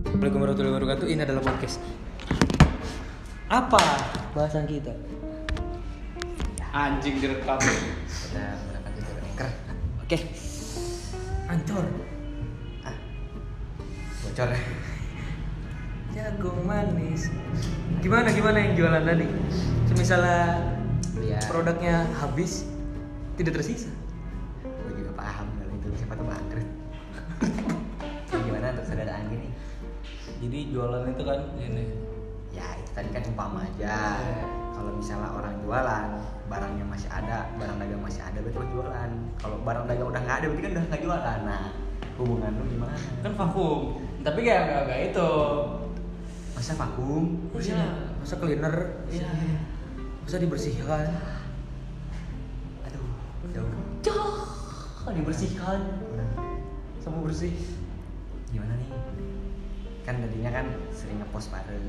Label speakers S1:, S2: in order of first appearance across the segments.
S1: warahmatullahi wabarakatuh. Ini adalah podcast. Apa bahasan kita?
S2: Anjing direkam.
S3: Sudah berapa tuh Ker? Ker.
S1: Oke. Ancur.
S3: Ah. Bocor.
S1: Jagung manis. Gimana gimana yang jualan tadi? Semisalnya
S3: Iya.
S1: produknya habis, tidak tersisa.
S3: Gue juga paham kalau itu siapa tuh bangkrut. Ya, gimana untuk saudara Anggi nih?
S2: Jadi jualan itu kan ini.
S3: Ya itu tadi kan umpama aja. Kalau misalnya orang jualan, barangnya masih ada, barang dagang masih ada, berarti lo jualan. Kalau barang dagang udah nggak ada, berarti kan udah nggak jualan. Nah, hubungan lu gimana?
S2: Kan vakum. Tapi kayak nggak nggak itu.
S3: Masa vakum?
S2: Iya.
S1: Masa cleaner
S2: Iya.
S1: bisa dibersihkan.
S3: Aduh, jauh. Cok, dibersihkan.
S2: Nah.
S1: Sama bersih.
S3: Gimana nih? Kan tadinya kan sering ngepost bareng.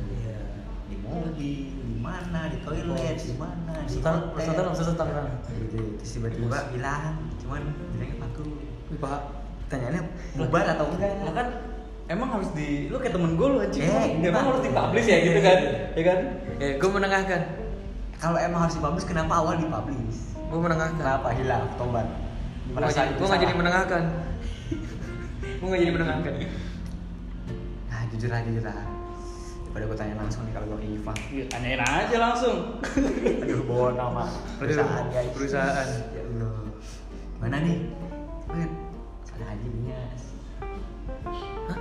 S3: di mobil, di mana, di toilet, di mana, di
S1: Setan-
S3: hotel.
S1: setan langsung setan kan?
S3: Gitu. Terus tiba-tiba bilang, cuman bilangnya vakum.
S1: Pak,
S3: Pertanyaannya
S1: Nah,
S3: bubar
S1: iya.
S3: atau enggak?
S2: Lah kan emang harus di lu kayak temen gue lu
S3: Eh,
S2: anjing. Dia emang
S3: bukan.
S2: harus dipublish ya gitu kan. Ya kan?
S1: ya, gue menengahkan.
S3: Kalau emang harus dipublish, kenapa awal dipublish?
S1: Gue menengahkan.
S3: Kenapa hilang, tobat?
S1: Gue
S3: Merasa
S1: nggak jadi-
S3: itu
S1: gua nggak jadi
S3: salah.
S1: menengahkan. gue nggak jadi menengahkan.
S3: Nah, jujur aja, jujur aja. Daripada gue tanya langsung nih kalau gue ke Iva.
S2: Iya, Tanyain aja langsung.
S3: Aduh, bawa nama perusahaan guys.
S1: perusahaan.
S3: Ya Allah. Mana nih? Wait, ada Haji Binyas.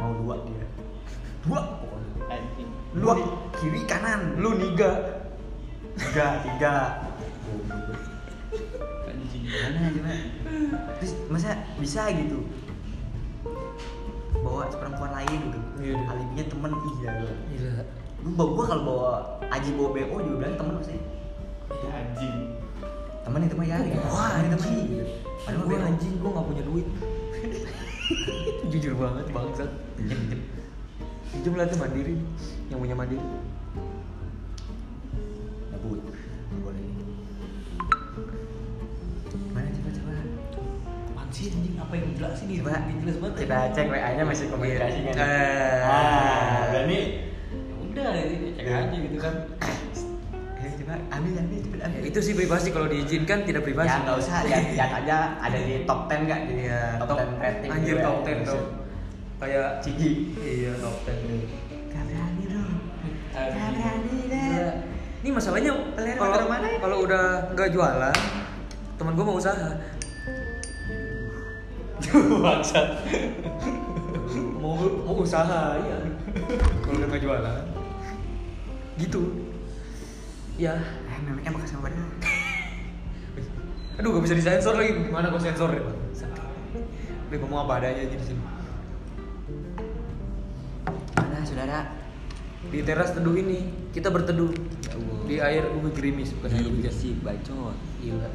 S3: Mau dua dia. Dua pokoknya.
S2: Anjing.
S3: Dua kiri kanan.
S1: Lu niga.
S3: tiga tiga
S2: Anjing.
S3: gimana gimana terus masa bisa gitu bawa perempuan lain gitu
S1: Iya.
S3: alibinya temen iya gua.
S1: Gila.
S3: lu bawa gua kalau bawa aji bawa bo juga bilang temen lu sih
S2: Ya, Anjing.
S3: temen nih temen ya gitu. wah ini temen nih gitu. padahal
S1: gue
S3: gua anjing
S1: anjing, gue gak punya duit Jujur banget bangsat
S3: pinjem pinjem
S1: Pinjam Iya. lah tuh mandiri Yang punya mandiri
S3: ngebut Nggak boleh gimana coba coba
S2: Apaan sih anjing? Apa yang gila sih di
S3: coba
S2: di- jelas banget.
S3: kita cek wa nya masih komunikasi nggak nih?
S1: Eh.
S3: ah berani
S2: Ya udah, ini cek aja gitu kan.
S3: Eh, coba ambil ambil cepet
S1: Ya,
S3: ambil
S1: Itu sih privasi kalau diizinkan tidak privasi
S3: Ya nggak usah lihat lihat aja ada di top 10 nggak jadi eh,
S1: Iya,
S3: top,
S1: top-
S3: 10 rating.
S1: Anjir
S3: gitu
S1: top
S3: ya.
S1: 10 dong Kayak
S3: Cigi.
S1: Iya top 10 nih
S3: Nggak berani dong. Nggak berani
S1: Iya.
S3: deh.
S1: Ini masalahnya
S3: Kalian
S1: kalau
S3: orang mana?
S1: kalau udah nggak jualan Temen gue mau usaha
S2: Bangsat.
S1: Mau, mau usaha iya Kalau udah nggak jualan Gitu Ya
S3: Eh memangnya makan sama badan.
S1: Aduh gak bisa disensor lagi, gimana kok sensor ya? Udah ngomong apa adanya aja di sini.
S3: Mana saudara?
S1: Di teras teduh ini kita berteduh di air ubi gerimis bukan air hujan.
S3: gitu bacot.
S1: Gila.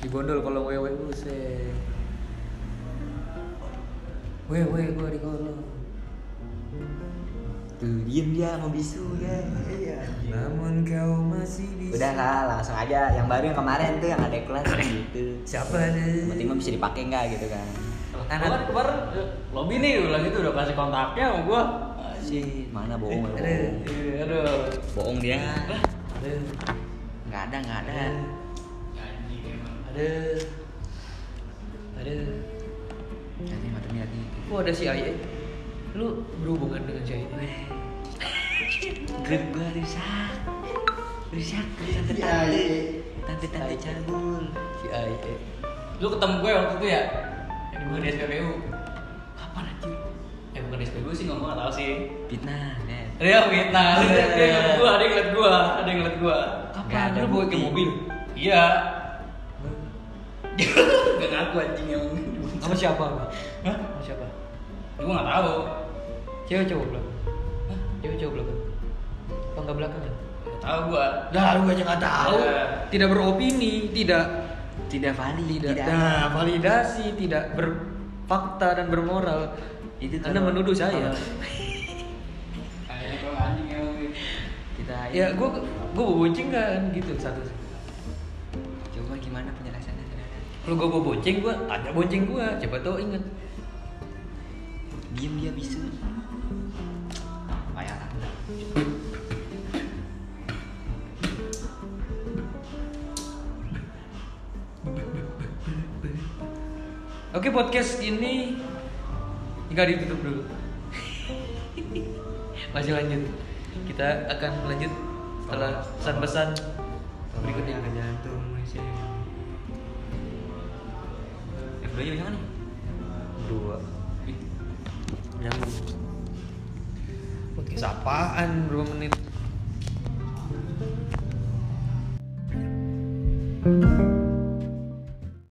S1: Di gondol kalau wewe buset. Wewe gua di gondol.
S3: Tuh diem dia mau bisu ya. Iya.
S1: Namun kau masih bisa.
S3: Udah lah langsung aja yang baru yang kemarin tuh yang ada kelas gitu.
S1: Siapa
S3: Yang Penting
S1: nih?
S3: mah bisa dipakai nggak gitu kan.
S1: Anak-
S2: Kemarin kemarin eh, lobby nih udah gitu udah kasih kontaknya sama gua.
S3: Si mana bohong ya,
S1: Ada.
S3: bohong.
S2: Iya, Aduh.
S3: Bohong dia.
S2: Ada.
S3: Nggak ada nggak ada.
S2: Anjing emang. Ada. Ada.
S3: Lihat nih mata lihat nih.
S1: Kok ada si Aye? Lu berhubungan dengan si Aye?
S3: Grip gua rusak. Rusak ke tante-tante. Tante-tante cabul.
S1: Si
S3: E.
S1: Aye.
S2: Lu ketemu gue waktu itu ya? Yang di bukan di SPBU. Kapan anjing? Eh bukan di SPBU sih ngomong gak tau sih.
S3: Fitnah, Dad.
S2: Dia fitnah. Dia dia- dia ngeliat gua, dia ngeliat gua, ada yang ngeliat gua.
S3: Nggak
S2: Kapan
S3: ada
S2: lu bawa ke
S3: bukti.
S2: mobil? Iya. Gak ngaku anjing yang
S1: Sama siapa?
S2: Hah? Sama siapa? Gue gak tau
S1: Cewek cowok belum? Hah? Cewek cowok belum? Apa enggak belakangan?
S2: Gak tau gue
S1: Dah lu aja nggak tahu.
S2: Ya.
S1: Tidak beropini, tidak
S3: Tidak valid,
S1: tidak,
S3: tidak.
S1: nah, validasi, tidak berfakta dan bermoral.
S3: Itu
S1: Anda
S3: kalau-
S1: menuduh saya.
S2: Kayaknya kalau anjing ya, emang nih.
S3: Kita
S1: ya gua gua bonceng kan gitu satu.
S3: coba gimana penjelasannya, Saudara?
S1: Kalau gua bawa bonceng gua tanya bonceng gua, coba tau inget.
S2: diem dia bisa payah lah
S1: Oke podcast ini nggak ditutup dulu. Masih lanjut. Kita akan lanjut setelah pesan-pesan berikutnya.
S3: ada jantung Malaysia
S2: yang kedua yang
S1: kan?
S2: mana
S1: Dua.
S2: nih
S1: Nyambung. Podcast apaan berapa menit?